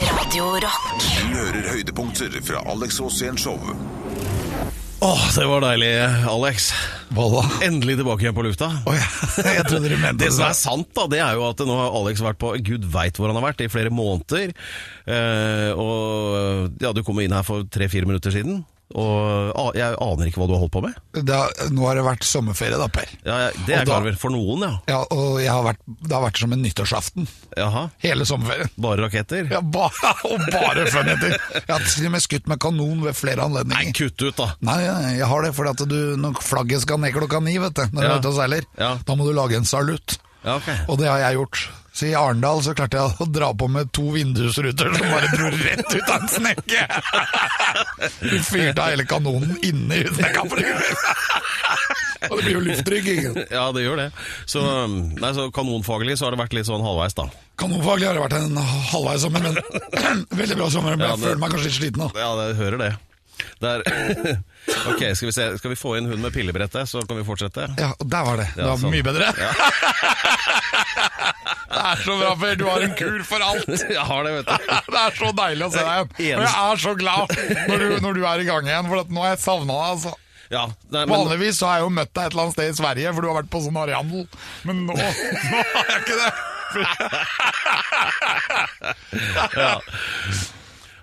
Radio Rock. Du hører høydepunkter fra Alex Åsén Show. Åh, det var deilig, Alex. Hva da? Endelig tilbake igjen på lufta. Å ja, jeg trodde du mente Det som sa- er sant, da, det er jo at nå har Alex vært på Gud veit hvor han har vært i flere måneder. Eh, og ja, du kom jo inn her for tre-fire minutter siden, og a- jeg aner ikke hva du har holdt på med. da, Nå har det vært sommerferie, da, Per. Ja, jeg- det er Og da- klar over. For noen, ja. Ja, og jeg har vært, det har vært som en nyttårsaften. Jaha. Hele sommerferien. Bare raketter? Ja, bare, og bare funneter. Jeg har til og med skutt med kanon ved flere anledninger. Nei, kutt ut, da. Nei, jeg har det, for at du, når flagget skal ned klokka ni, vet du, når du Ja. er ute og seiler, Ja. da må du lage en salutt. Ja, ok. Og det har jeg gjort. Så i Arendal så klarte jeg å dra på med to vindusruter som bare dro rett ut av en snekke. Du fyrte av hele kanonen inni snekka. for det- Og det blir jo lufttrykking. Ja, det gjør det. Så, nei, så kanonfaglig så har det vært litt sånn halvveis, da. Kanonfaglig har det vært en halvveis sommer, men veldig bra sommer. Men Ja, jeg det- føler meg kanskje litt sliten nå. Ja, det hører det. Det er Ok, skal vi, se. skal vi få inn hun med pillebrettet, så kan vi fortsette? Ja, og der var det. Det Ja, var sånn. mye bedre. Det er så bra, Per. Du har en kur for alt. Jeg har det, vet du. Det er så deilig å se deg igjen. Og jeg er så glad når du, når du er i gang igjen, for at nå har jeg savna deg. altså. Ja, nei, men, Vanligvis så har jeg jo møtt deg et eller annet sted i Sverige, for du har vært på sånn areandel. Men nå, nå har jeg ikke det.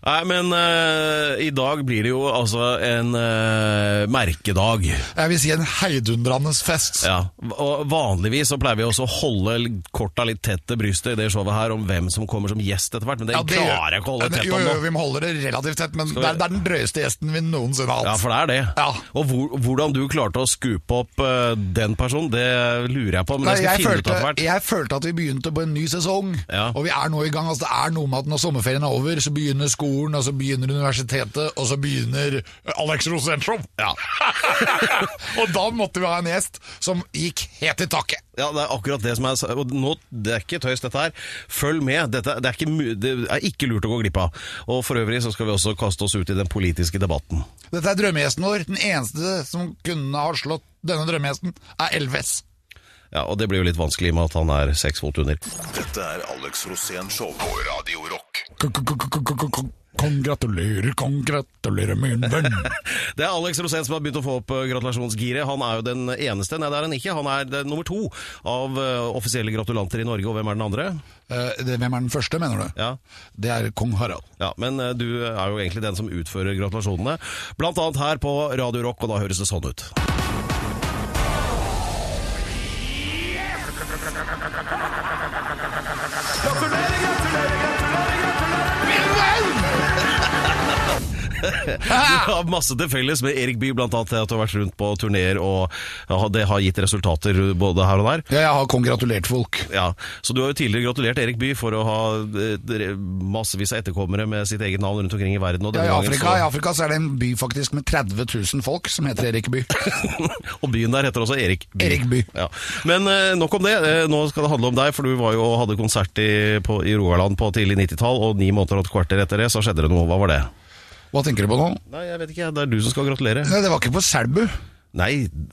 nei, men eh, i dag blir det jo altså en eh, merkedag. Jeg vil si en heidundrende fest. Ja, og Vanligvis så pleier vi også å holde l- korta litt tett til brystet i det showet her om hvem som kommer som gjest etter hvert, men det Ja, det gjør- klarer jeg ikke å holde tett jo, om jo, nå. Vi må holde det relativt tett, men Skal det vi- er, det er den drøyeste gjesten vi noensinne har Ja, hatt. for det er det. Ja. Og hvor, hvordan du klarte å skupe opp eh, den personen, det lurer jeg på, men Nei, det skal jeg, jeg finne ut følte, av hvert. jeg følte at vi begynte på en ny sesong, Ja. og vi er nå i gang. Altså, det er noe med at når sommerferien er over, så begynner skolen, og så begynner universitetet, og så begynner eh, Alex Rosenshov. og da måtte vi ha en gjest som gikk helt i taket. Ja, det er akkurat det som er og nå, Det er ikke tøys, dette her. Følg med. Dette, det, er ikke, mu- det er ikke lurt å gå glipp av. Og For øvrig så skal vi også kaste oss ut i den politiske debatten. Dette er drømmegjesten vår. Den eneste som kunne ha slått denne drømmegjesten, er Elves. Ja, Og det blir jo litt vanskelig i og med at han er seks fot under. Dette er Alex Rosén Show på Radio Rock. Kongratulerer, kongratulerer, min venn. Det er Alex Rosén som har begynt å få opp eh, gratulasjonsgiret. Han er jo den eneste, nei det er han ikke. Han er den nummer to av eh, offisielle gratulanter i Norge. Og hvem er den andre? Eh, det- Hvem er den første, mener du? Ja. Det er kong Harald. Ja, Men eh, du er jo egentlig den som utfører gratulasjonene. Blant annet her på Radio Rock, og da høres det sånn ut. Du har masse til felles med Erik Bye, blant annet det at du har vært rundt på turnéer, og ja, det har gitt resultater både her og der. Ja, jeg har kongratulert folk. Ja, Så du har jo tidligere gratulert Erik Bye for å ha eh, dere- massevis av etterkommere med sitt eget navn rundt omkring i verden. Og Ja, denne i, gangen Afrika, I Afrika så er det en by faktisk med 30 000 folk som heter Erikeby. så, og byen der heter også Erik Bye. Erik Bye. Ja. Men eh, nok om det. Eh, nå skal det handle om deg, for du var jo og hadde konsert i, på, i Rogaland på tidlig 90-tall, og ni måneder og et kvarter etter det så skjedde det noe. Hva var det? Hva tenker du på nå? Nei, jeg vet ikke. Det er du som skal gratulere. Nei, det var ikke på Selbu. Nei,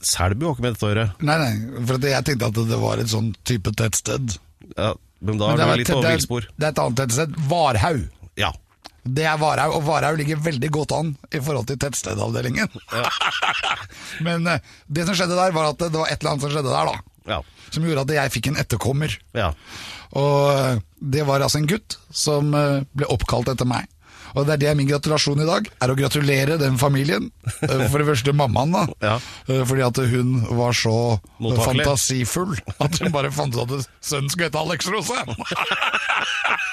Selbu har ikke med dette å gjøre. Nei, nei, for at jeg tenkte at det var et sånn type tettsted. Ja, men da er Men det, du var litt et- på det, villspor. er, det er et annet tettsted. Varhaug. Ja. Det er Varhaug, og Varhaug ligger veldig godt an i forhold til tettstedavdelingen. Men eh, det som skjedde der, var at det var et eller annet som skjedde der, da. Ja. Som gjorde at jeg fikk en etterkommer. Ja. Og eh, det var altså en gutt som eh, ble oppkalt etter meg. Og det er det er min gratulasjon i dag, er å gratulere den familien. Eh, For det første mammaen, da. Ja. Eh, Fordi at hun var så eh, Mottakelig. fantasifull at hun bare fant ut at sønnen skulle hete Alex Rosén.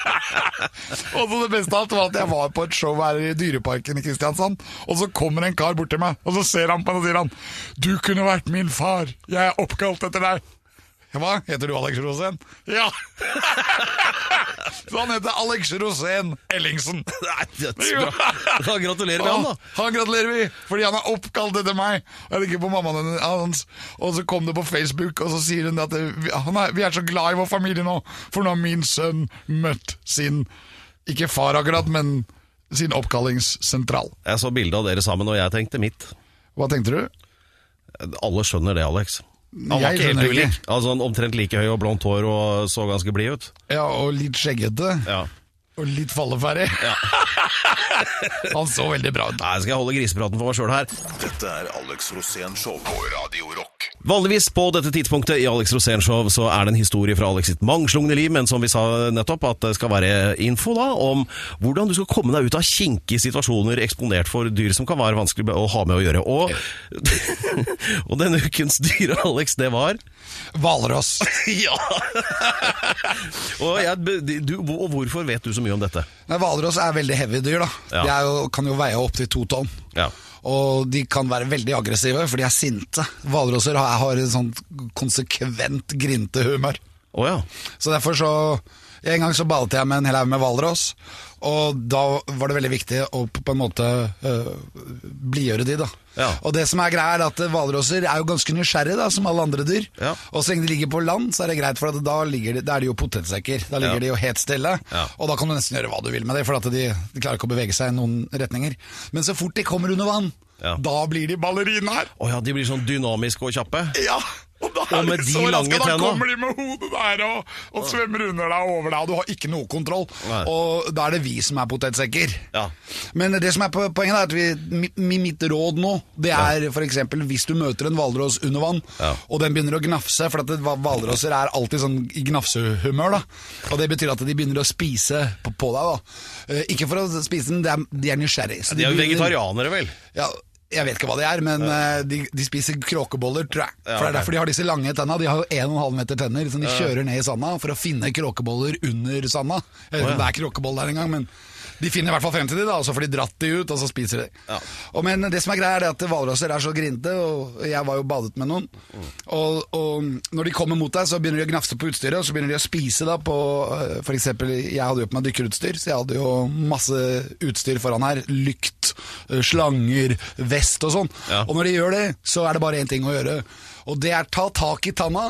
og så det beste av alt var at jeg var på et show her i Dyreparken i Kristiansand, og så kommer en kar bort til meg, og så ser han på meg og sier han 'Du kunne vært min far, jeg er oppkalt etter deg'. Hva? Heter du Alex Rosén? Ja! Så han heter Alex Rosén Ellingsen. Nei, det er så bra. Da gratulerer vi han, da. Å, han gratulerer vi, fordi han er oppkalt etter meg. Og Jeg tenker på mammaen hans, og så kom det på Facebook, og så sier hun at det- han er, vi er så glad i vår familie nå, for nå har min sønn møtt sin, ikke far akkurat, men sin oppkallingssentral. Jeg så bilde av dere sammen, og jeg tenkte mitt. Hva tenkte du? Alle skjønner det, Alex. Han var Jeg ikke skjønner helt ikke. ulik. Altså, han omtrent like høy og blondt hår og så ganske blid ut. Ja, og litt skjeggete. Ja. Og litt falleferdig. Han så veldig bra ut. Nei, skal jeg holde grisepraten for meg sjøl her. Dette er Alex Rosén Show på Radio Rock. Vanligvis på dette tidspunktet i Alex Rosén Show så er det en historie fra Alex sitt mangslungne liv, men som vi sa nettopp, at det skal være info da om hvordan du skal komme deg ut av kinkige situasjoner eksponert for dyr som kan være vanskelig å ha med å gjøre. Og, og denne ukens dyr, Alex, det var Hvalross. Ja! og, jeg, du, og hvorfor vet du så mye om dette? Men Hvalross er veldig heavy dyr. da Ja. De er jo, kan jo veie opptil to tonn. Ja. Og de kan være veldig aggressive, for de er sinte. Hvalrosser har, har en sånn konsekvent grinte humør. Å ja. Så derfor så En gang så badet jeg med en hel haug med hvalross, og da var det veldig viktig å p- på en måte øh, blidgjøre de, da. Ja. Og det som er greia, er at eh, hvalrosser er jo ganske nysgjerrige, da, som alle andre dyr. Ja. Og så lenge de ligger på land, så er det greit, for at da, ligger de, da er de jo potetsekker. Da ligger Ja. de jo helt stille, Ja. og da kan du nesten gjøre hva du vil med dem, for at de, de klarer ikke å bevege seg i noen retninger. Men så fort de kommer under vann, Ja. da blir de ballerinaer! Å ja, de blir sånn dynamiske og kjappe? Ja! Og, da Og med er det de så lange raske, da tenna. kommer de med hodet der og, og svømmer under deg og over deg, og du har ikke noe kontroll. Nei. Og da er det vi som er potetsekker. Ja. Men det som er po- poenget, er at vi, mi- mi, mitt råd nå, det er for f.eks. hvis du møter en hvalross under vann, Ja. og den begynner å gnafse, for at det- hvalrosser er alltid sånn i gnafsehumør, da. Og det betyr at de begynner å spise på, på deg, da. Eh, Ikke for å spise den, de er, de er nysgjerrige. så De er jo begynner- vegetarianere, vel? ja, jeg vet ikke hva de er, men eh, de, de spiser kråkeboller, tror jeg. Ja, For det ok. er derfor de har disse lange tenna. De har jo 1,5 meter tenner, så de kjører ned i sanda for å finne kråkeboller under sanda. Jeg vet ikke om det er kråkeboll der engang, men de finner i hvert fall frem til de, da, og så får de dratt de ut, og så spiser de. Ja. Og, men det som er greia, er det at hvalrosser er så grinte, og jeg var jo badet med noen. Og, og når de kommer mot deg, så begynner de å gnafse på utstyret, og så begynner de å spise da på eh, For eksempel, jeg hadde jo på meg dykkerutstyr, så jeg hadde jo masse utstyr foran her. Lykt, eh, slanger, vest og sånn. Ja. Og når de gjør det, så er det bare én ting å gjøre, og det er ta tak i tanna.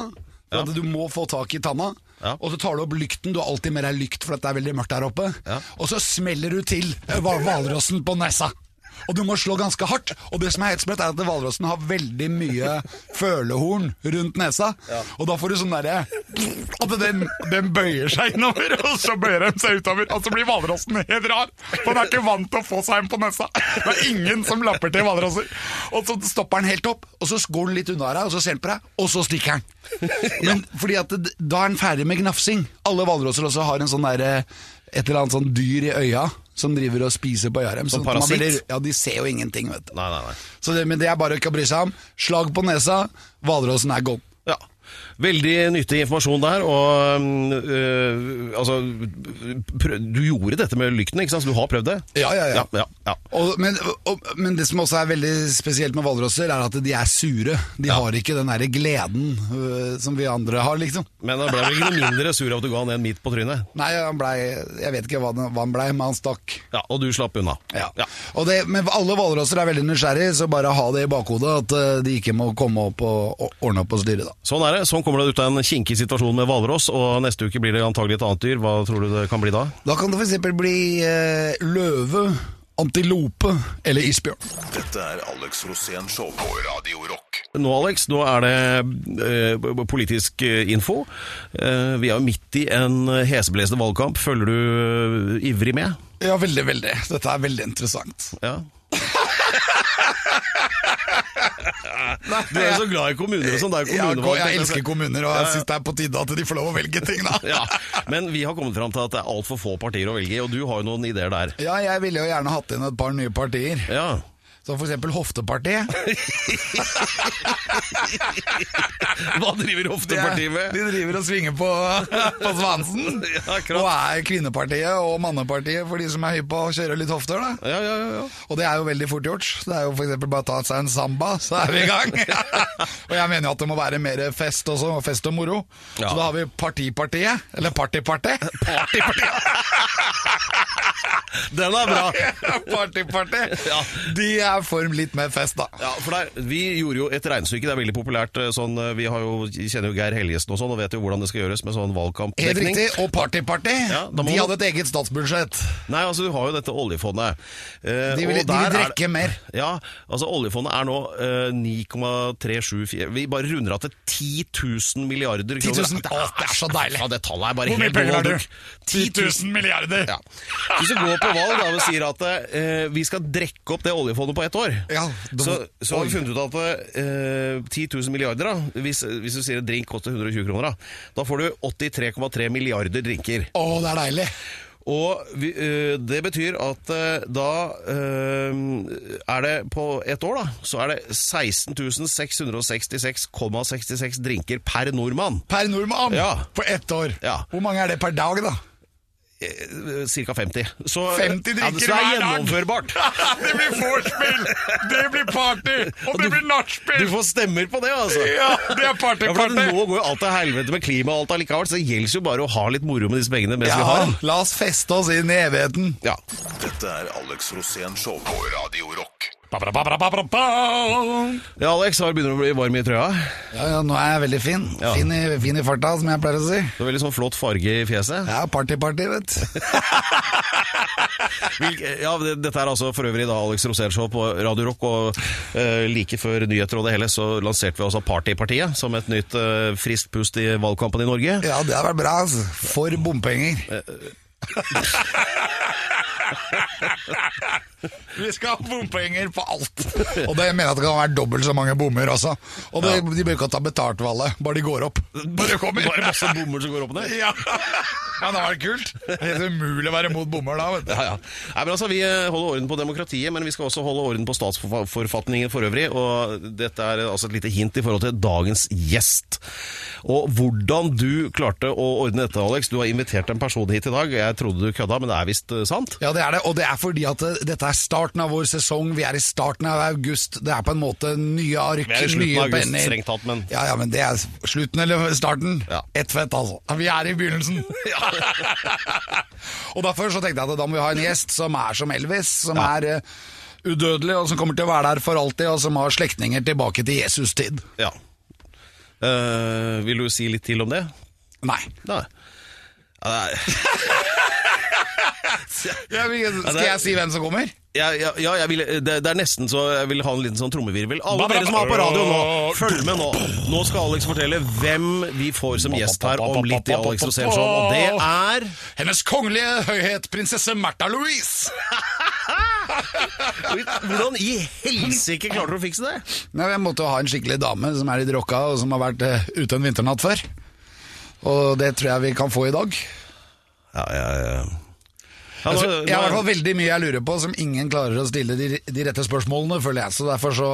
For at du må få tak i tanna. Ja. Og så tar du opp lykten, du har alltid med deg lykt for at det er veldig mørkt der oppe. Ja. Og så smeller du til eh, hval- hvalrossen på nesa. Og du må slå ganske hardt. Og det som er helt sprøtt, er at hvalrossen har veldig mye følehorn rundt nesa. Og da får du sånn derre At den, den bøyer seg innover, og så bøyer den seg utover. Og så blir hvalrossen helt rar. For den er ikke vant til å få seg en på nesa. Det er ingen som lapper til hvalrosser. Og så stopper den helt opp, og så går den litt unna deg, og så ser den på deg, og så stikker den. Men fordi at det- da er den ferdig med gnafsing. Alle hvalrosser også har en sånn derre et eller annet sånn dyr i øya som driver og spiser på øya deres. Som sånn at man parasitt? blir- Ja, de ser jo ingenting, vet du. Nei, nei, nei. Så det, men det er bare ikke å bry seg om. Slag på nesa, hvalrossen er gone. Ja. Veldig nyttig informasjon der, og mm, øh, altså prø- Du gjorde dette med lykten, ikke sant? Så du har prøvd det? Ja, ja, ja. ja, ja, ja. Og, men, og, men det som også er veldig spesielt med hvalrosser, er at de er sure. De har ikke den derre gleden øh, som vi andre har, liksom. Men da ble jeg vel ikke noe mindre sur av at du ga han en midt på trynet. Nei, han blei Jeg vet ikke hva, den, hva han blei, men han stakk. Ja, Og du slapp unna. Ja. Ja. Og det, men alle hvalrosser er veldig nysgjerrige, så bare ha det i bakhodet at øh, de ikke må komme opp og og ordne opp og styre, da. Sånn er det. Sånn kommer du deg ut av en kinkig situasjon med hvalross, og neste uke blir det antagelig et annet dyr. Hva tror du det kan bli da? Da kan det f.eks. bli eh, løve, antilope eller isbjørn. Dette er Alex Rosén Show på Radio Rock. Nå, Alex, nå er det eh, politisk eh, info. Eh, vi er jo midt i en heseblesende valgkamp. Følger du eh, ivrig med? Ja, veldig, veldig. Dette er veldig interessant. Ja. Du er jo så glad i kommuner og sånn. Det er jo Jeg, kommunevalg. jeg elsker kommuner, og jeg syns det er på tide at de får lov å velge ting, da. Ja, Men vi har kommet fram til at det er altfor få partier å velge i, og du har jo noen ideer der. Ja, jeg ville jo gjerne hatt inn et par nye partier, Ja. som f.eks. Hoftepartiet. Hva driver De, Hoftepartiet med? de driver og svinger på, på svansen. Ja, akkurat. og er kvinnepartiet og mannepartiet for de som er hypp på å kjøre litt hofter. da Ja, ja, ja, ja. Og det er jo veldig fort gjort. Det er jo for eksempel bare å ta seg en samba, så er vi i gang. og jeg mener jo at det må være mer fest også, og fest og moro. Ja. Så da har vi Partipartiet, eller Partypartiet. Partypartiet! Den er bra! party, party. Ja. De er form litt mer fest, da. Ja, for der, Vi gjorde jo et regnestykke, det er veldig populært. eh, Sånn, eh, vi har jo, kjenner jo Geir Helgesen og sånn, og vet jo hvordan det skal gjøres med sånn Helt valgkampdekning. riktig. Og Party Party, Ja, da må de man- hadde et eget statsbudsjett. Nei, altså Du har jo dette oljefondet. Eh, De vil, og de der er vil det- drikke mer. Ja, altså Oljefondet er nå eh, 9,374 Vi bare runder av til 10 000 milliarder 10 kroner. 000. Å, det er så deilig. Ja, det tallet er bare Hvor mye helt penger har overholduk. du? 10 000 milliarder! Ja. Hvis vi går på valg da, og sier at eh, vi skal drekke opp det oljefondet på ett år, Ja, da- så, så har vi funnet ut at eh, 10 000 milliarder, da, hvis, hvis du sier en drink koster 120 kroner, da, da får du 83,3 milliarder drinker. Å, det er deilig. Og vi, eh, det betyr at eh, da eh, er det på ett år, da, så er det 16 666,66 drinker per nordmann. Per nordmann Ja. på ett år. Ja. Hvor mange er det per dag, da? Ca. 50. Eh, Så, eh, 50 ja, drinker så det er hver dag. gjennomførbart. det blir vorspiel! Det blir party! Og det blir Du nachspiel! får stemmer på det, altså. Ja, det er party, Ja, for at party! Nå går jo alt til helvete med klima og alt allikevel, så det gjelder jo bare å ha litt moro med disse pengene mens Ja, vi har dem. la oss feste oss inn i evigheten. Ja. Dette er Alex Rosén Show på Radio Rock. ja, Alex, har begynner å bli varm i trøya. Ja, ja, nå er jeg veldig fin. Ja. Fin, i, fin i farta, som jeg pleier å si. Det er Veldig sånn flott farge i fjeset. Ja, party-party, vet du. Hvilke- Ja, det- Dette er altså for øvrig da Alex Rosén Show på Radio Rock, og eh, like før nyheter og det hele så lanserte vi også Partypartiet som et nytt eh, friskt pust i valgkampen i Norge. Ja, det har vært bra, altså. For bompenger. eh. Vi skal ha bompenger på alt. Og det mener jeg at det kan være dobbelt så mange bommer også. Og det, de bør ikke ta betalt for alle, bare de går opp. Bare de kommer. Bare masse bommer som går opp og ned. Ja, men det var kult. Det er helt umulig å være mot bommer da, vet du. Ja, ja. Nei, men altså, Vi eh, holder orden på demokratiet, men vi skal også holde orden på statsforfatningen for øvrig. og Dette er eh, altså et lite hint i forhold til dagens gjest. Og Hvordan du klarte å ordne dette, Alex. Du har invitert en person hit i dag. Jeg trodde du kødda, men det er visst eh, sant? Ja, det er det, og det er fordi at eh, dette er starten av vår sesong, vi er i starten av august, det er på en måte nye ark, Vi er i slutten nye av august, penner. strengt tatt, men- Ja, ja, men det er slutten eller starten, Ja. ett fett altså. Vi er i begynnelsen. og derfor så tenkte jeg at da må vi ha en gjest som er som Elvis, som er eh, udødelig, og som kommer til å være der for alltid, og som har slektninger tilbake til Jesus tid. Ja. Eh, vil du si litt til om det? Nei. Nei. Ja, det er- Skal jeg si hvem som kommer? Ja, ja, ja jeg vil, det, det er nesten så jeg vil ha en liten sånn trommevirvel. Alle dere som har på radio nå, følg med nå. Nå skal Alex fortelle hvem vi får som gjest her om litt i Alex Rosén Show, og det er Hennes kongelige høyhet, prinsesse Märtha Louise! Hvordan i helsike klarer du å fikse det? Nei, Jeg måtte jo ha en skikkelig dame som er litt rocka, og som har vært eh, ute en vinternatt før. Og det tror jeg vi kan få i dag. Ja, Altså, ja, ja. Jeg, tror, jeg har i hvert nå, fall veldig mye jeg lurer på som ingen klarer å stille de, de rette spørsmålene, føler jeg. Så derfor så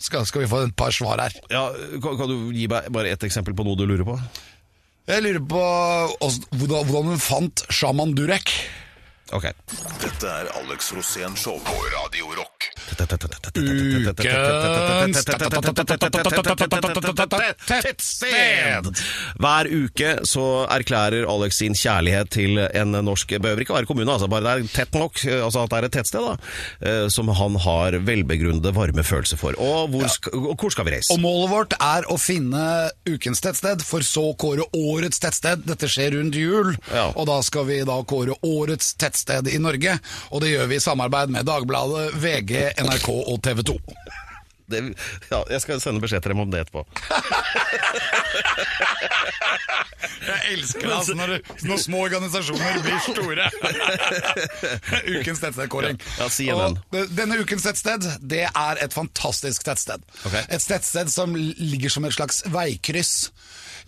skal, skal vi få et par svar her. ja, kan, kan du gi meg bare ett eksempel på noe du lurer på? Jeg lurer på ås- hvordan hvordan hun fant sjaman Durek. Ok. Dette er Alex Rosén Show på Radio Rock. Ukens tettsted. Hver uke så erklærer Alex sin kjærlighet til en norsk Behøver ikke være kommune, altså, bare det er tett nok, altså at det er et tettsted, da. eh, Som han har velbegrunnede varme følelser for. Og hvor, sk- og hvor skal vi reise? Og målet vårt er å finne ukens tettsted, for så å kåre årets tettsted. Dette skjer rundt jul, Ja. og da skal vi da kåre årets tettsted i Norge. Og det gjør vi i samarbeid med Dagbladet, VG, NRK og TV 2. Det, ja, jeg skal sende beskjed til dem om det etterpå. Jeg elsker det altså, når, når små organisasjoner blir store. ukens tettstedkåring. Ja, si en Og de- Denne ukens tettsted det er et fantastisk tettsted. Ok. Et tettsted som ligger som et slags veikryss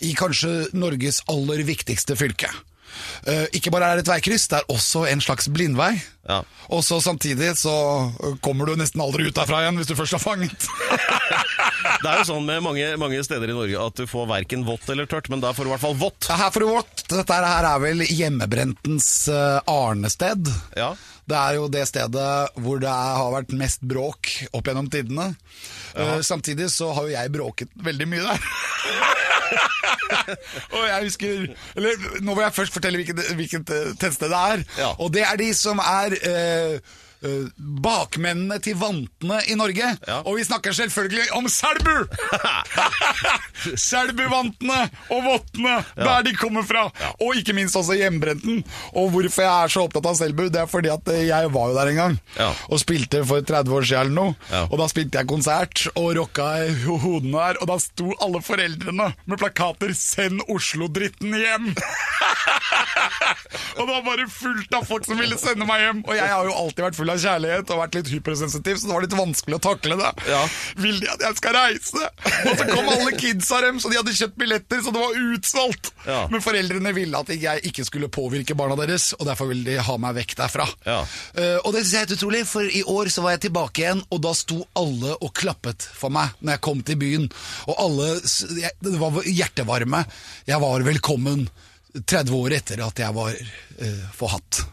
i kanskje Norges aller viktigste fylke. Eh, ikke bare er det et veikryss, det er også en slags blindvei. Ja. Og så samtidig så kommer du nesten aldri ut derfra igjen hvis du først er fanget. Det er jo sånn med mange, mange steder i Norge at du får verken vått eller tørt, men der får du i hvert fall vått. Ja, Her for vårt, dette her er vel hjemmebrentens eh, arnested. Ja. Det er jo det stedet hvor det er, har vært mest bråk opp gjennom tidene. Eh, samtidig så har jo jeg bråket veldig mye der. Og jeg husker Eller nå må jeg først fortelle hvilket, hvilket eh, tettsted det er. Ja. Og det er de som er eh, eh, bakmennene til vantene i Norge. Ja. Og vi snakker selvfølgelig om Selbu! Selbuvantene og vottene, der de kommer fra. Og ikke minst også hjemmebrenten. Og hvorfor jeg er så opptatt av Selbu, det er fordi at eh, jeg var jo der en gang. Ja. Og spilte for 30 år siden eller noe. Ja. Og da spilte jeg konsert og rocka i ho- hodene her, og da sto alle foreldrene med plakater 'Send Oslo-dritten hjem'! og det var bare fullt av folk som ville sende meg hjem. Og jeg har jo alltid vært full av kjærlighet og vært litt hypersensitiv, så det var litt vanskelig å takle det. Ja. Vil de at jeg skal reise? Og så kom alle kidsa dem, så de hadde kjøpt billetter, så det var utsolgt. Ja. Men foreldrene ville at jeg ikke skulle påvirke barna deres, og derfor ville de ha meg vekk derfra. Ja. Eh, og det synes jeg er helt utrolig, for i år så var jeg tilbake igjen, og da sto alle og klappet for meg når jeg kom til byen. Og alle s- jeg, Det var hjertevarme. Jeg var velkommen 30 år etter at jeg var eh, forhatt.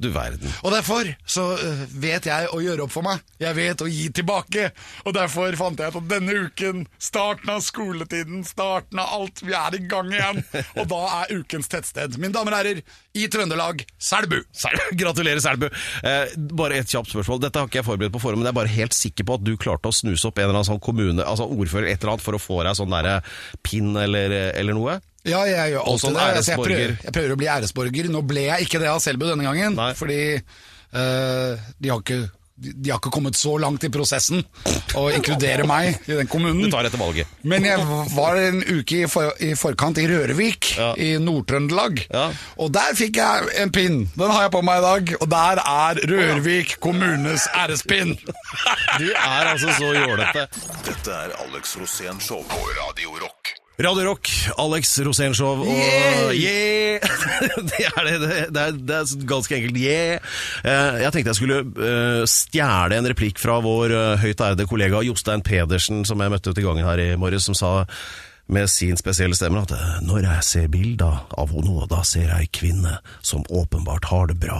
Du verden. Og derfor så øh, vet jeg å gjøre opp for meg. Jeg vet å gi tilbake. Og derfor fant jeg ut at denne uken, starten av skoletiden, starten av alt, vi er i gang igjen. Og da er ukens tettsted, mine damer og herrer, i Trøndelag, Selbu. Selbu. Gratulerer, Selbu. Eh, bare et kjapt spørsmål. Dette har ikke jeg forberedt på forhånd, men jeg er bare helt sikker på at du klarte å snuse opp en eller annen sånn kommune, altså ordfører et eller annet, for å få deg sånn derre pinn eller, eller noe. Ja, jeg gjør Og alltid som det. Altså, jeg, prøver, æresborger. jeg prøver å bli æresborger. Nå ble jeg ikke det av Selbu denne gangen, Nei. fordi øh, de har ikke de de har ikke kommet så langt i prosessen å inkludere meg i den kommunen. Du tar etter valget. Men jeg var en uke i, for, i forkant i Rørvik Ja. i Nord-Trøndelag. Ja. Og der fikk jeg en pinn. Den har jeg på meg i dag. Og der er Rørvik kommunes ærespinn. Du er altså så jålete. Dette er Alex Rosén Show på Radio Rock. Radio Rock, Alex Rosénshow og Yeah! Yeah! det, er det, det, det, er, det er ganske enkelt yeah. Eh, jeg tenkte jeg skulle eh, stjele en replikk fra vår eh, høyt ærede kollega Jostein Pedersen, som jeg møtte ute i gangen her i morges, som sa med sin spesielle stemme at eh, når jeg ser bilder av henne, da ser jeg ei kvinne som åpenbart har det bra.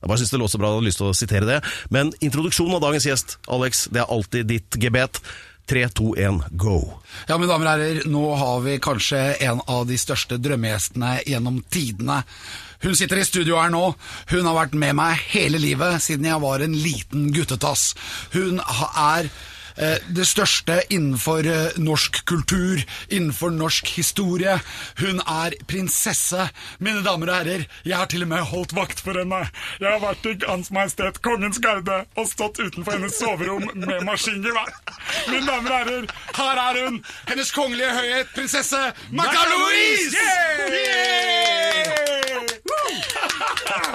Jeg bare synes det låt så bra, jeg hadde lyst til å sitere det. Men introduksjonen av dagens gjest, Alex, det er alltid ditt gebet. 3, 2, 1, go! Ja, mine damer og herrer, nå har vi kanskje en av de største drømmegjestene gjennom tidene. Hun sitter i studio her nå. Hun har vært med meg hele livet siden jeg var en liten guttetass. Hun ha- er eh, det største innenfor eh, norsk kultur, innenfor norsk historie. Hun er prinsesse. Mine damer og herrer, jeg har til og med holdt vakt for henne. Jeg har vært i Hans Majestet Kongens Garde og stått utenfor hennes soverom med maskingevær. Mine damer og herrer, her er hun, hennes kongelige høyhet, prinsesse Märtha Louise!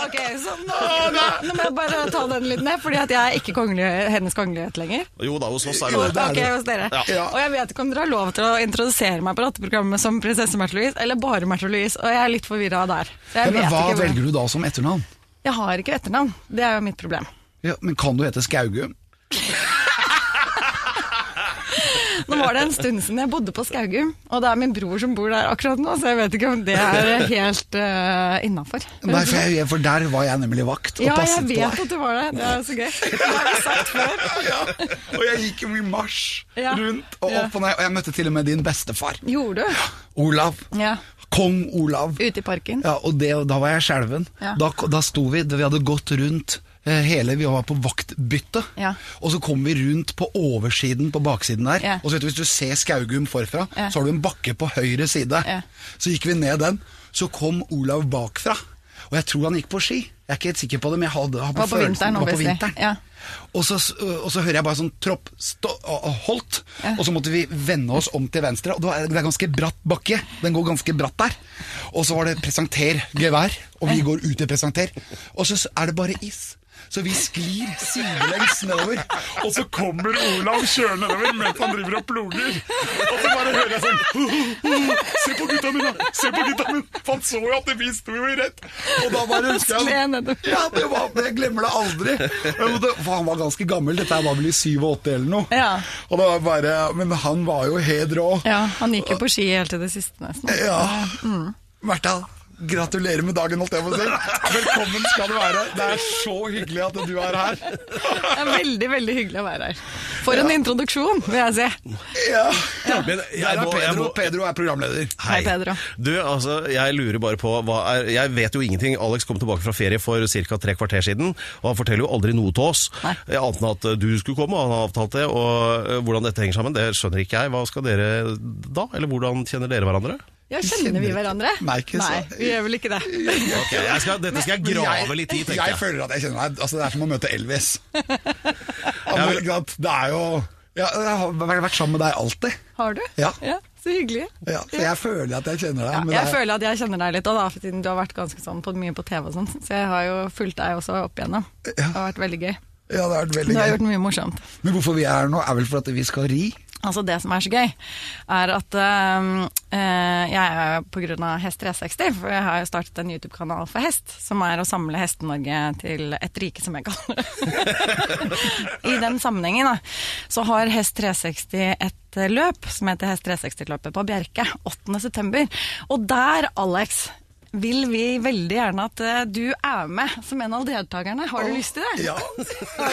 Ok, så nå, nå må jeg bare ta den litt ned, fordi at jeg er ikke kongelig, hennes kongelighet lenger. Jo da, hos oss er Jo det det. da. er Ok, det. hos dere. Ja. Og jeg vet ikke om dere har lov til å introdusere meg på Ratteprogrammet som prinsesse Märtha Louise, eller bare Märtha Louise, og jeg er litt forvirra der. Så jeg, Men vet hva ikke hvor- velger du da som etternavn? jeg har ikke etternavn, det er jo mitt problem. Ja, men kan du hete Skaugum? Nå var det en stund siden jeg bodde på Skaugum, og det er min bror som bor der akkurat nå, så jeg vet ikke om det er helt uh, innafor. Nei, for, jeg, for der var jeg nemlig vakt og Ja, jeg passet på vet at du var der, det er så gøy. Det har vi sagt før. ja. Og jeg gikk jo i marsj Ja. rundt og Ja. opp og ned, og jeg møtte til og med din bestefar, Gjorde du? Olav. Ja. Kong Olav. Ute i parken. Ja, og det, da var jeg skjelven. Ja. Da, da sto vi, vi hadde gått rundt eh, hele, vi var på vaktbytte, Ja. og så kom vi rundt på oversiden på baksiden der, Ja. og så vet du, hvis du ser Skaugum forfra, Ja. så har du en bakke på høyre side. Ja. Så gikk vi ned den, så kom Olav bakfra, og jeg tror han gikk på ski. Jeg er ikke helt sikker på det, men jeg hadde, har Var på følelsen- vinteren, var på obviously. vinteren. Ja. Og, så, og så hører jeg bare sånn tropp stå, og- og holdt, Ja. og så måtte vi vende oss om til venstre, og det var- det er ganske bratt bakke. Den går ganske bratt der. Og så var det presenter gevær, og vi går ut til presenter, og så er det bare is. Så vi sklir sidelengs nedover, og så kommer Olav kjørende nedover mens han driver og ploger. Og så bare hører jeg sånn Se på gutta mine! Se på gutta mine! For han så jo at vi sto jo i rett. Og da bare husker jeg Skled nedover. ja, det var, jeg glemmer det aldri. Jeg måtte, for han var ganske gammel, dette her var vel i 87 eller noe. Ja. Og det var bare, men han var jo helt rå. Ja, han gikk jo på ski helt til det siste nesten. Ja. Märtha, Gratulerer med dagen, holdt jeg på å si. Velkommen skal du være. Det er så hyggelig at du er her. Det er veldig veldig hyggelig å være her. For en introduksjon, vil jeg si. Ja. Men jeg Der er må- jeg Pedro. må- Pedro er programleder. Hei, Pedro. Du, altså, jeg lurer bare på hva er, Jeg vet jo ingenting. Alex kom tilbake fra ferie for ca. tre kvarter siden, og han forteller jo aldri noe til oss. Nei. Eh, Annet enn at eh, du skulle komme, og han har avtalt det. Og eh, hvordan dette henger sammen, det skjønner ikke jeg. Hva skal dere da? Eller hvordan kjenner dere hverandre? Ja, Kjenner vi hverandre? Nei, ikke så- vi gjør vel ikke det. Ok, jeg skal, dette skal jeg grave litt i, jeg tenker jeg. føler at jeg kjenner deg. Altså, det er som å møte Elvis. Han, ikke sant? det er jo ja, Jeg har vært sammen med deg alltid. Har du? Ja. Så hyggelig. Ja, så jeg føler at jeg kjenner deg. Ja, men jeg det er- føler at jeg kjenner deg litt, og da, siden du har vært ganske sånn på, mye på TV og sånn, så jeg har jo fulgt deg også opp igjennom. Det har vært veldig gøy. ja, det har vært Du veldig har gøy. gjort mye morsomt. Men hvorfor vi er her nå, er vel for at vi skal ri? Altså Det som er så gøy, er at øhm, øh, jeg er pga. Hest 360, for jeg har jo startet en YouTube-kanal for hest, som er å samle Heste-Norge til et rike, som jeg kaller det. I den sammenhengen da, så har Hest 360 et eh, løp som heter Hest 360-løpet på Bjerke 8.9. Og der, Alex, vil vi veldig gjerne at eh, du er med som en av deltakerne. Har du lyst til det? Ja.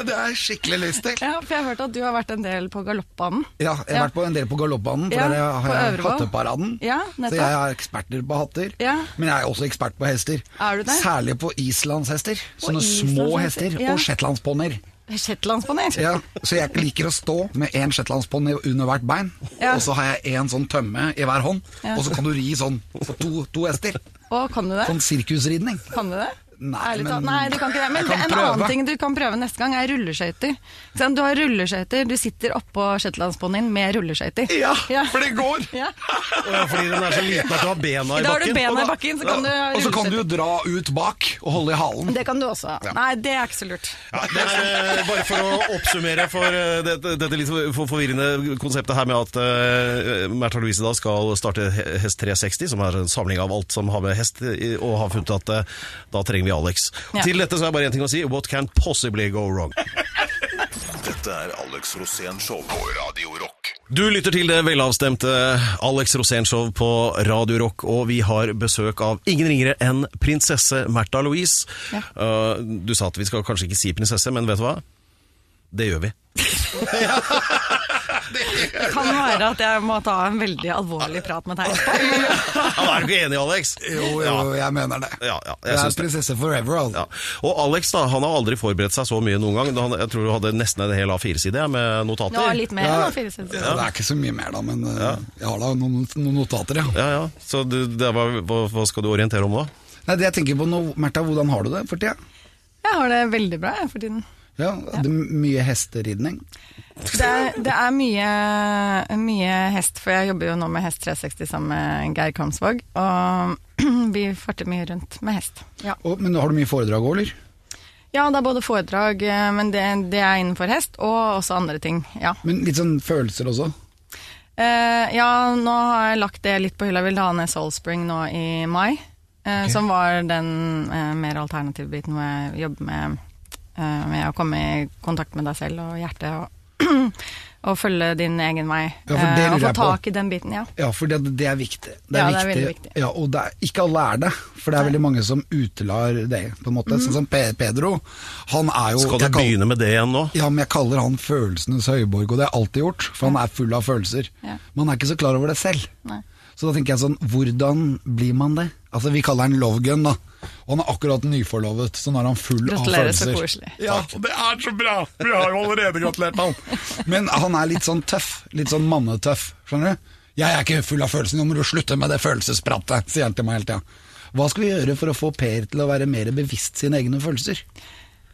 det er jeg skikkelig lyst til. Ja, for jeg har hørt at du har vært en del på galoppbanen. Ja, jeg har vært på en del på galoppbanen, for Ja, der på har jeg Øvrebå. hatteparaden. Ja, så nettopp. jeg er eksperter på hatter, Ja. men jeg er også ekspert på hester. Er du det? Særlig på islandshester. Sånne små islandshester, hester. ja. Og shetlandsponnier. Shetlandspanel. Ja, så jeg liker å stå med én shetlandsponni under hvert bein, Ja. og så har jeg én sånn tømme i hver hånd, Ja. og så kan du ri sånn på to, to hester. Å, kan du det? Sånn sirkusridning. Kan du det? Nei, Ærlig men- talt. Nei, du kan ikke det. Men Jeg kan en prøve. annen ting du kan prøve neste gang, er rulleskøyter. Ikke sant? Du har rulleskøyter, du sitter oppå shetlandsponnien med rulleskøyter. Ja. det går! Ja. Ja, fordi den er så liten at du har bena i bakken. Da har du bena Og i da- bakken, så kan du ha Og så kan du rulleskøyter. dra ut bak og holde i halen. Det kan du også. Nei, det er ikke så lurt. Ja, det er eh, Bare for å oppsummere for eh, dette, dette litt for forvirrende konseptet her med at eh, Märtha Louise da skal starte He- Hest 360, som er en samling av alt som har med hest i- og har funnet at eh, da trenger vi Alex. Ja. Til dette så er bare én ting å si. What can possibly go wrong? Dette er Alex Rosén Show på Radio Rock. Du lytter til det velavstemte eh, Alex Rosénshow på Radio Rock, og vi har besøk av ingen ringere enn prinsesse Märtha Louise. Ja. Eh, du sa at vi skal kanskje ikke si prinsesse, men vet du hva? Det gjør vi. Det kan være at jeg må ta en veldig alvorlig prat med deg etterpå. Ja, er du ikke enig, Alex? Jo, jo, jeg mener det. Ja, ja, jeg jeg syns er det. prinsesse forever, altså. Ja. Og Alex da, han har aldri forberedt seg så mye noen gang. Han, jeg tror du hadde nesten en hel A4-side jeg, med notater. Nå litt mer enn fire Ja, sekunder. Det er ikke så mye mer, da, men eh, jeg har da noen, noen notater, ja. Ja, ja. Så du, det var, hva, hva skal du orientere om da? Nei, det jeg tenker på nå, Märtha, hvordan har du det for tida? Jeg har det veldig bra jeg, for tiden. Ja, det er mye hesteridning. Det er, det er mye, mye hest, for jeg jobber jo nå med Hest 360 sammen med Geir Kamsvåg. Og vi farter mye rundt med hest. Ja, Og, men har du mye foredrag òg, eller? ja det er både foredrag, eh, men det, det er innenfor hest, og også andre ting. Ja. Men litt sånn følelser også? Eh, ja, nå har jeg lagt det litt på hylla. Vil ha ned Soul Spring nå i mai. eh, Som var den eh, mer alternative biten hvor jeg jobber med, eh, med å komme i kontakt med deg selv og hjertet. Og, og følge din egen vei. Ja, for det eh, og lurer få jeg på. tak i den biten, ja. Ja, for det, det er viktig. Ja, det er veldig viktig. Ja, og det er, ikke alle er det, for det er veldig mange som utelar det, på en måte. Mhm. Sånn som Pe Pedro, han er jo Skal du jeg kall- begynne med det igjen nå? Ja, men jeg kaller han følelsenes høyborg, og det har jeg alltid gjort, for han er full av følelser. Ja. Men han er ikke så klar over det selv. Nei. Så da tenker jeg sånn, hvordan blir man det? Altså, vi kaller han love gun, da. Og han er akkurat nyforlovet, så nå er han full Gratulerer, av så følelser. koselig. Ja, det er så bra! Vi har jo allerede gratulert han. Men han er litt sånn tøff. Litt sånn mannetøff, skjønner du? Jeg er ikke full av følelser, nå må du slutte med det følelsespratet, sier han til meg hele tida. Hva skal vi gjøre for å få Per til å være mer bevisst sine egne følelser?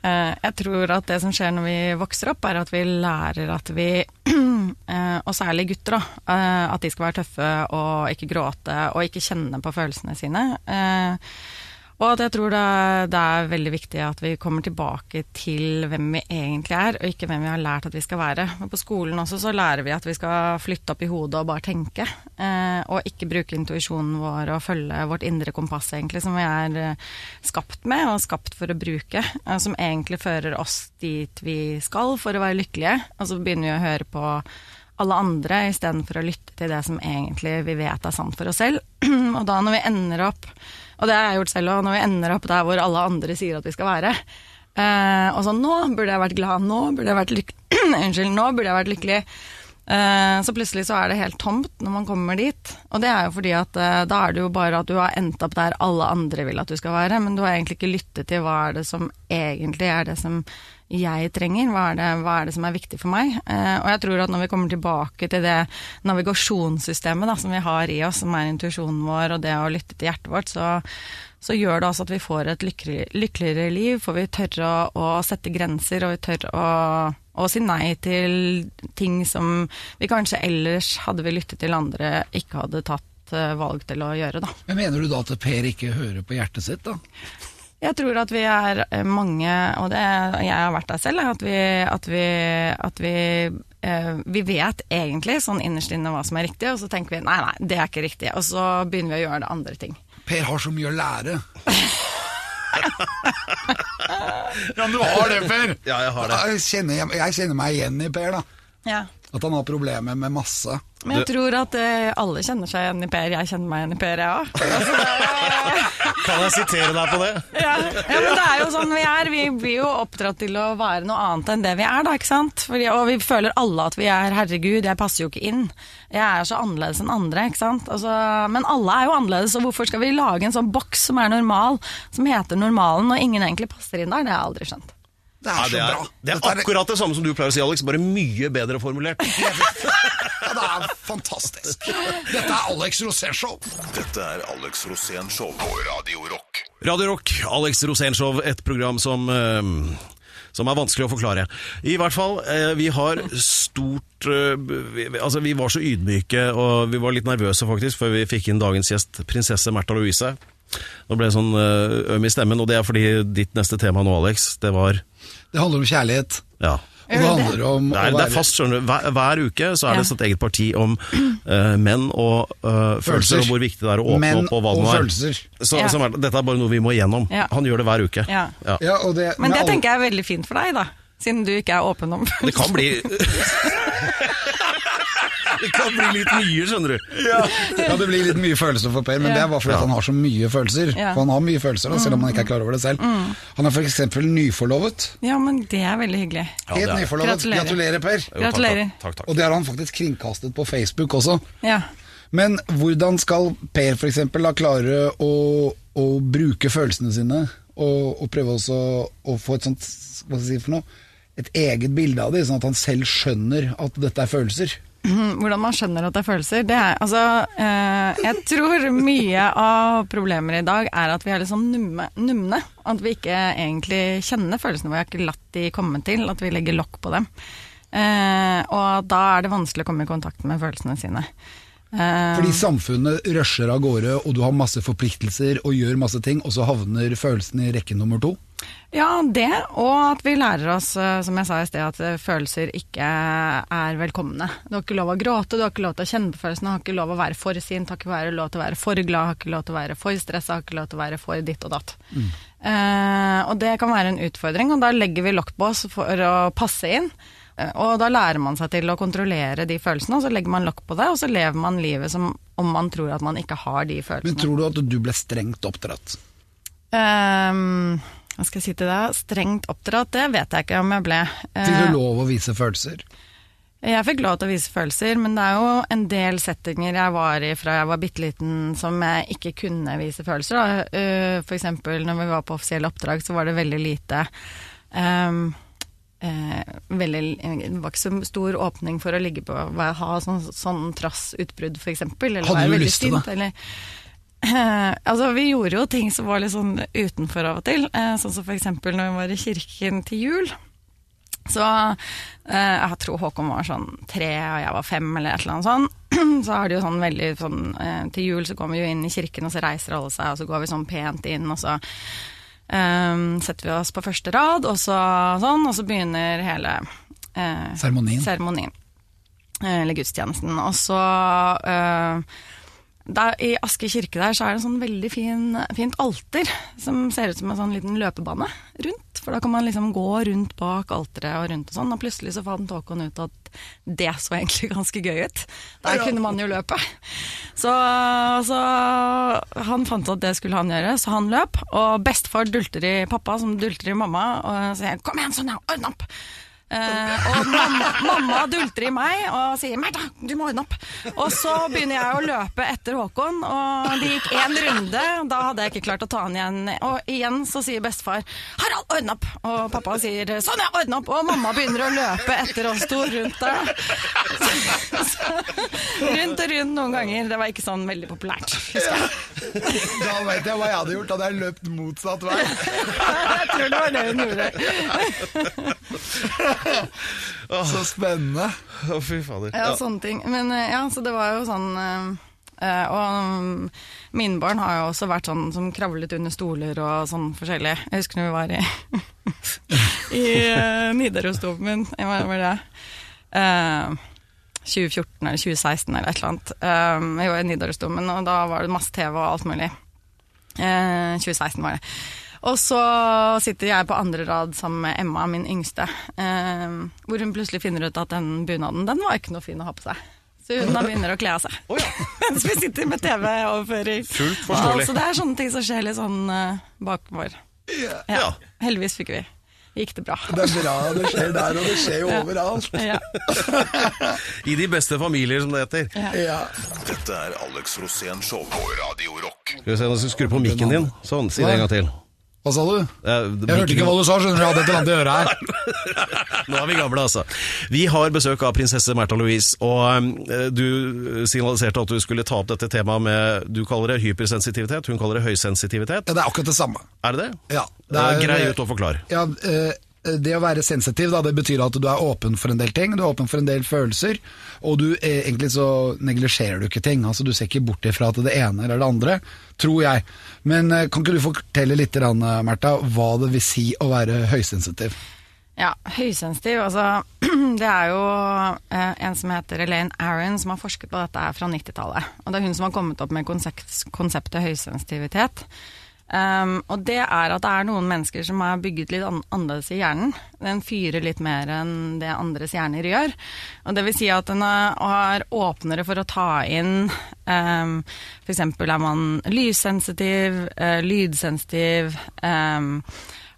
Eh, Jeg tror at det som skjer når vi vokser opp, er at vi lærer at vi eh, Og særlig gutter, da. eh, At de skal være tøffe og ikke gråte og ikke kjenne på følelsene sine. Eh, Og at jeg tror det er, det er veldig viktig at vi kommer tilbake til hvem vi egentlig er, og ikke hvem vi har lært at vi skal være. Og På skolen også så lærer vi at vi skal flytte opp i hodet og bare tenke. eh, Og ikke bruke intuisjonen vår og følge vårt indre kompass, egentlig, som vi er eh, skapt med og skapt for å bruke. eh, Som egentlig fører oss dit vi skal for å være lykkelige. Og så begynner vi å høre på alle andre, istedenfor å lytte til det som egentlig vi vet er sant for oss selv. og da når vi ender opp, og det har jeg gjort selv òg, når vi ender opp der hvor alle andre sier at vi skal være, eh, og sånn nå burde jeg vært glad, nå burde jeg vært lykkelig, unnskyld, nå burde jeg vært lykkelig. Eh, Så plutselig så er det helt tomt når man kommer dit. Og det er jo fordi at eh, da er det jo bare at du har endt opp der alle andre vil at du skal være, men du har egentlig ikke lyttet til hva er det som egentlig er det som jeg trenger, hva er det, hva er det som er viktig for meg. Eh, Og jeg tror at når vi kommer tilbake til det navigasjonssystemet da, som vi har i oss, som er intuisjonen vår og det å lytte til hjertet vårt, så så gjør det altså at vi får et lykkelig- lykkeligere liv, for vi tør å, å sette grenser, og vi tør å, å si nei til ting som vi kanskje ellers, hadde vi lyttet til andre, ikke hadde tatt eh, valg til å gjøre, da. Men Mener du da at Per ikke hører på hjertet sitt, da? Jeg tror at vi er eh, mange, og det, jeg har vært der selv, at vi, at vi, at vi eh, vi vet egentlig sånn innerst inne hva som er riktig, og så tenker vi nei, nei, det er ikke riktig. Og så begynner vi å gjøre det andre ting. Per har så mye å lære. Ja, du har det, Per! Ja, jeg har det. Jeg kjenner, jeg kjenner meg igjen i Per, da. Ja. At han har problemer med masse. Men jeg tror at eh, alle kjenner seg igjen i Per. Jeg kjenner meg igjen i Per, jeg Altså, òg. eh, Kan jeg sitere deg på det? Ja. ja, men det er jo sånn vi er. Vi blir jo oppdratt til å være noe annet enn det vi er, da, ikke sant. Fordi, og vi føler alle at vi er 'herregud, jeg passer jo ikke inn'. Jeg er så annerledes enn andre, ikke sant. Altså, men alle er jo annerledes, og hvorfor skal vi lage en sånn boks som er normal, som heter normalen, når ingen egentlig passer inn der? Det har jeg aldri skjønt. Det er Ja, det, så er, bra. det er Dette akkurat det samme som du pleier å si, Alex, bare mye bedre formulert. Ja, det er fantastisk. Dette er Alex Rosén-show. Dette er Alex Rosén Show på Radio Rock. Radio Rock, Alex Rosénshow, et program som eh, som er vanskelig å forklare. I hvert fall, eh, vi har stort eh, vi, Altså, vi var så ydmyke, og vi var litt nervøse faktisk, før vi fikk inn dagens gjest, prinsesse Märtha Louise. Nå ble jeg sånn eh, øm i stemmen, og det er fordi ditt neste tema nå, Alex, det var Det handler om kjærlighet. Ja. Og det handler om Det er, å det er være fast, skjønner du. Hver, hver uke så er Ja. det sitt eget parti om eh, menn og eh, følelser, og hvor viktig det er å åpne Menn opp og hva det og nå er. følelser. Så, Ja. som er. Dette er bare noe vi må igjennom. Ja. Han gjør det hver uke. Ja. Ja. Ja, og det, Men det tenker jeg er veldig fint for deg, da. Siden du ikke er åpen om Det kan bli Det kan bli litt mye, skjønner du. Ja, det blir litt mye følelser for Per, men det er bare fordi at han har så mye følelser. Ja. Mm. For han har mye følelser, da, selv om han ikke er klar over det selv. Han er for eksempel nyforlovet. Ja, men det er veldig hyggelig. det er Helt det. nyforlovet. Gratulerer. Gratulerer, Per. Jo, takk, Gratulerer. Takk, takk, Og takk. det har han faktisk kringkastet på Facebook også. Ja. Men hvordan skal Per for eksempel da klare å, å bruke følelsene sine, og, og prøve også å få et sånt, hva skal jeg si for noe, et eget bilde av det, sånn at han selv skjønner at dette er følelser? Mm, Hvordan man skjønner at det er følelser, det er altså eh, Jeg tror mye av problemer i dag er at vi er litt sånn numme, numne. At vi ikke egentlig kjenner følelsene våre, vi har ikke latt de komme til. At vi legger lokk på dem. Eh, og da er det vanskelig å komme i kontakt med følelsene sine. Eh, Fordi samfunnet rusher av gårde, og du har masse forpliktelser og gjør masse ting, og så havner følelsen i rekke nummer to. Ja, det, og at vi lærer oss, eh, som jeg sa i sted, at eh, følelser ikke er velkomne. Du har ikke lov å gråte, du har ikke lov til å kjenne på følelsene, du har ikke lov å være for sint, du har ikke være lov til å være for glad, du har ikke lov til å være for stressa, du har ikke lov til å være for ditt og datt. Eh, og det kan være en utfordring, og da legger vi lokk på oss for å passe inn. Eh, Og da lærer man seg til å kontrollere de følelsene, og så legger man lokk på det, og så lever man livet som om man tror at man ikke har de følelsene. Men tror du at du ble strengt oppdratt? Ehm, hva skal jeg si til deg? Strengt oppdratt, det vet jeg ikke om jeg ble. Eh, Fikk du lov å vise følelser? jeg fikk lov til å vise følelser, men det er jo en del settinger jeg var i fra jeg var bitte liten som jeg ikke kunne vise følelser. Da. Eh, for eksempel når vi var på offisielle oppdrag, så var det veldig lite ehm, eh, veldig, Det var ikke så stor åpning for å ligge på hva- ha sånn, sånn trassutbrudd, for eksempel. Eller Hadde være du veldig lyst til sint, det? Eller, Eh, altså, vi gjorde jo ting som var litt sånn utenfor av og til. Eh, sånn som for eksempel når vi var i kirken til jul. Så eh, jeg tror Håkon var sånn tre, og jeg var fem, eller et eller annet sånn. Så er det jo sånn veldig sånn eh, Til jul så kommer vi jo inn i kirken, og så reiser alle seg, og så går vi sånn pent inn, og så eh, setter vi oss på første rad, og så sånn, og så begynner hele eh, Seremonien. seremonien. Eh, Eller gudstjenesten. Og så eh, der, I Aske kirke der så er det en sånn veldig fin, fint alter som ser ut som en sånn liten løpebane rundt. For da kan man liksom gå rundt bak alteret og rundt og sånn. Og plutselig så fant Håkon ut at det så egentlig ganske gøy ut. Der kunne man jo løpe. Så, så han fant at det skulle han gjøre, så han løp. Og bestefar dulter i pappa, som dulter i mamma, og sier 'kom igjen, Sonja, ordne opp'. Eh, og mamma, mamma dulter i meg og sier 'Märtha, du må ordne opp'. Og så begynner jeg å løpe etter Håkon, og det gikk én runde. Da hadde jeg ikke klart å ta han igjen. Og igjen så sier bestefar 'Harald, ordne opp'. Og pappa sier 'Sonja, ordne opp'. Og mamma begynner å løpe etter oss to rundt der. Så, så, rundt og rundt noen ganger. Det var ikke sånn veldig populært. Da vet jeg hva jeg hadde gjort. Da hadde jeg løpt motsatt vei. Jeg tror det var det hun gjorde. Så spennende. Å, fy fader. Ja, sånne ting. Men eh, ja, så det var jo sånn eh, eh, Og mm, mine barn har jo også vært sånn som kravlet under stoler og sånn forskjellig. Jeg husker når vi var i, i eh, Nidarosdomen, eh, hva var det? Eh, 2014 eller 2016 eller et eller annet. Eh, jeg var i Nidarosdomen, og da var det masse TV og alt mulig. Eh, 2016 var det. Og så sitter jeg på andre rad sammen med Emma, min yngste, eh, hvor hun plutselig finner ut at den bunaden, den var ikke noe fin å ha på seg. Så hun da begynner å kle av seg. Mens vi sitter med TV-overføring. Fullt forståelig. Så det er sånne ting som skjer litt sånn eh, bakover. Ja. Ja. Heldigvis fikk vi. Gikk det bra. Det er bra det skjer der, og det skjer jo overalt. Ja. altså. I de beste familier, som det heter. Ja. Dette er Alex Rosén Show på Radio Rock. Skal vi se, Nå skal du skru på mikken din. Sånn, si det en gang til. Hva sa du? Eh, Jeg hørte mikken- ikke hva du sa, skjønner du. Jeg hadde et eller annet i øret her. Nå er vi gamle, altså. Vi har besøk av prinsesse Märtha Louise, og eh, du signaliserte at du skulle ta opp dette temaet med Du kaller det hypersensitivitet, hun kaller det høysensitivitet. Ja, det er akkurat det samme. Er det det? Ja, det er, Grei ut og forklar. Ja, eh, det å være sensitiv, da, det betyr at du er åpen for en del ting, du er åpen for en del følelser, og du eh, egentlig så neglisjerer du ikke ting. Altså, du ser ikke bort ifra at det ene eller det andre, tror jeg. Men eh, kan ikke du fortelle litt, grann, eh, Märtha, hva det vil si å være høysensitiv? Ja, høysensitiv. Altså, det er jo eh, en som heter Elaine Aron som har forsket på dette her fra 90-tallet. Og det er hun som har kommet opp med konsept, konseptet høysensitivitet. Um, og det er at det er noen mennesker som er bygget litt an annerledes i hjernen. Den fyrer litt mer enn det andres hjerner gjør. Og det vil si at den er, er åpnere for å ta inn um, F.eks. er man lyssensitiv, eh, lydsensitiv. Um,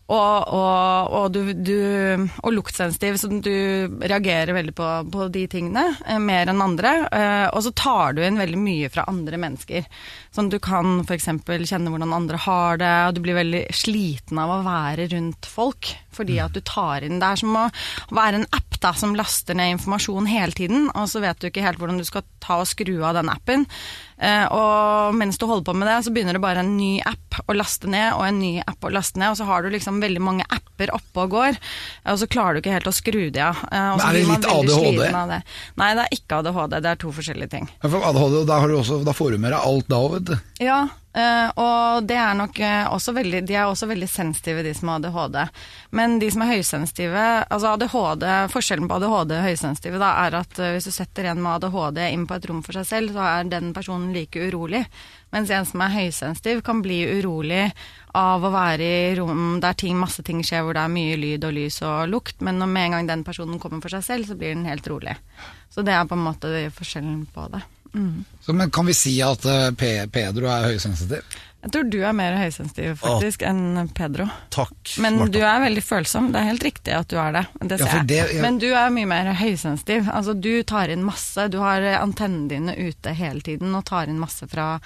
og, og, og, du, du, og luktsensitiv, så du reagerer veldig på, på de tingene eh, mer enn andre. Eh, og så tar du inn veldig mye fra andre mennesker. Sånn at du kan f.eks. kjenne hvordan andre har det, og du blir veldig sliten av å være rundt folk fordi at du tar inn Det er som å være en app da, som laster ned informasjon hele tiden, og så vet du ikke helt hvordan du skal ta og skru av den appen. Eh, og mens du holder på med det, så begynner det bare en ny app å laste ned, og en ny app å laste ned, og så har du liksom veldig mange apper oppe og går, eh, og så klarer du ikke helt å skru de av. Eh, og Men er det så blir man litt veldig ADHD? sliten av det. Nei, det er ikke ADHD, det er to forskjellige ting. Ja, For ADHD, da, har du også, da får du med deg alt da, vet du. Ja, eh, og det er nok eh, også veldig, de er også veldig sensitive, de som har ADHD. Men de som er høysensitive altså ADHD, Forskjellen på ADHD og høysensitive da, er at eh, hvis du setter en med ADHD inn på et rom for seg selv, så er den personen like urolig. Mens en som er høysensitiv, kan bli urolig av å være i rom der ting, masse ting skjer, hvor det er mye lyd og lys og lukt. Men når med en gang den personen kommer for seg selv, så blir den helt rolig. Så det er på en måte forskjellen på det. Så, men kan vi si at eh, Pe- Pedro er høysensitiv? Jeg tror du er mer høysensitiv faktisk enn Pedro. Takk, Men Märtha. du er veldig følsom, det er helt riktig at du er det. Ja, Det ser for jeg. det- jeg- Men du er mye mer høysensitiv. Altså, du tar inn masse, du har eh, antennene dine ute hele tiden og tar inn masse fra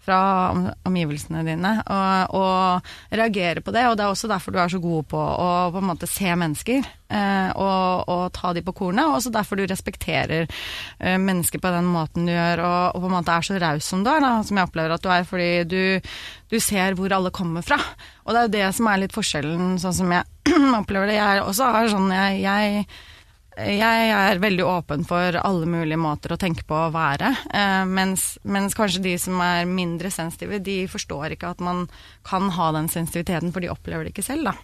fra om- omgivelsene dine, og, og reagerer på det. Og det er også derfor du er så god på å på en måte se mennesker eh, og, og ta de på kornet. Og også derfor du respekterer eh, mennesker på den måten du gjør, og, og på en måte er så raus som du er, da, som jeg opplever at du er, fordi du, du ser hvor alle kommer fra. Og det er jo det som er litt forskjellen, sånn som jeg opplever det. Jeg er også er sånn jeg, jeg jeg er veldig åpen for alle mulige måter å tenke på å være, eh, mens, mens kanskje de som er mindre sensitive, de forstår ikke at man kan ha den sensitiviteten, for de opplever det ikke selv, da.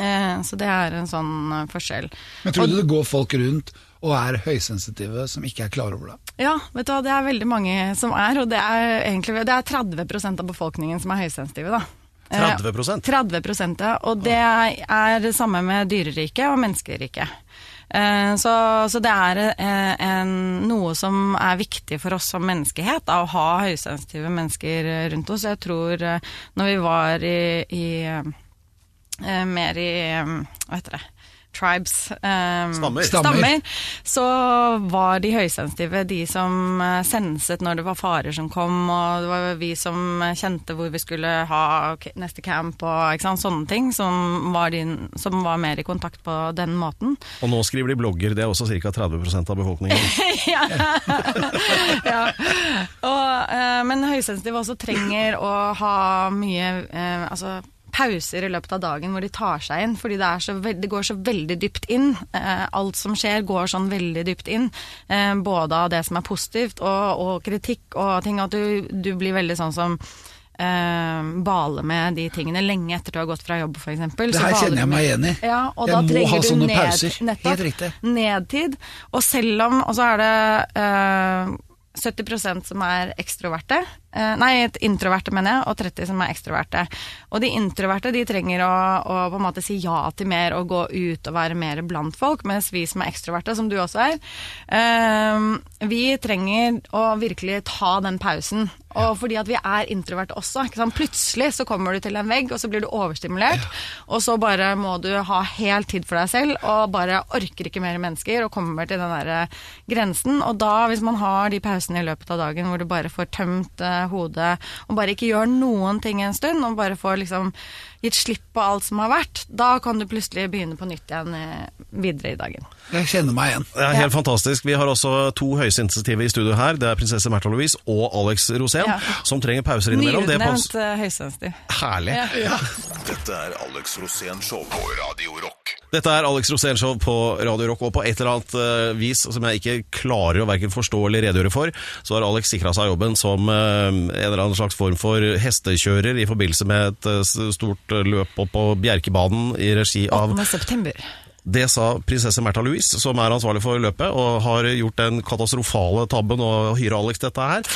Eh, Så det er en sånn eh, forskjell. Men tror du det går folk rundt og er høysensitive som ikke er klar over det? Ja, vet du hva, det er veldig mange som er, og det er egentlig det er 30 av befolkningen som er høysensitive, da. Eh, 30%? 30 ja. Og det er det samme med dyreriket og menneskeriket. Eh, Så, så det er eh, en, noe som er viktig for oss som menneskehet, da, å ha høysensitive mennesker rundt oss. Jeg tror eh, når vi var i, i eh, mer i eh, Hva heter det? Tribes. eh, Stammer. stammer. Så var de høysensitive de som eh, senset når det var farer som kom, og det var vi som eh, kjente hvor vi skulle ha k- neste camp og ikke sant? sånne ting, som var, de, som var mer i kontakt på den måten. Og nå skriver de blogger, det er også ca. 30 av befolkningen. ja. ja. Og, eh, men høysensitive også trenger å ha mye eh, altså, pauser i løpet av dagen hvor de tar seg inn, fordi det, er så veld, det går så veldig dypt inn. Eh, alt som skjer går sånn veldig dypt inn, eh, både av det som er positivt og, og kritikk og ting, at du, du blir veldig sånn som eh, baler med de tingene lenge etter du har gått fra jobb, f.eks. Det her kjenner jeg meg igjen i. Ja, og Jeg da må trenger ha du sånne ned, pauser. Nettopp, Helt riktig. nedtid. Og selv om Og så er det eh, 70 som er ekstroverte. eh, nei, introverte, mener jeg, og 30 som er ekstroverte. Og de introverte de trenger å, å på en måte si ja til mer og gå ut og være mer blant folk, mens vi som er ekstroverte, som du også er, eh, vi trenger å virkelig ta den pausen. Og fordi at vi er introverte også. Ikke sant? Plutselig så kommer du til en vegg, og så blir du overstimulert. Og så bare må du ha helt tid for deg selv, og bare orker ikke mer mennesker, og kommer til den der eh, grensen. Og da, hvis man har de pausene i løpet av dagen hvor du bare får tømt eh, hodet, og bare ikke gjør noen ting en stund, og bare får liksom gitt slipp på alt som har vært, da kan du plutselig begynne på nytt igjen eh, videre i dagen. Jeg kjenner meg igjen. Det er helt fantastisk. Vi har også to høysensitive i studio her. Det er prinsesse Märtha Louise og Alex Rosén, Ja. som trenger pauser innimellom. Det Nyutnevnt passer eh, høysensitiv. herlig. Ja. Dette er Alex Rosén Show på Radio Rock. Dette er Alex Rosén Show på Radio Rock, og på et eller annet eh, vis som jeg ikke klarer å hverken forstå eller redegjøre for, så har Alex sikra seg jobben som eh, en eller annen slags form for hestekjører i forbindelse med et eh, stort løp opp på Bjerkebanen i regi av 8. september. Det sa prinsesse Märtha Louise, som er ansvarlig for løpet, og har gjort den katastrofale tabben å hyre Alex dette her.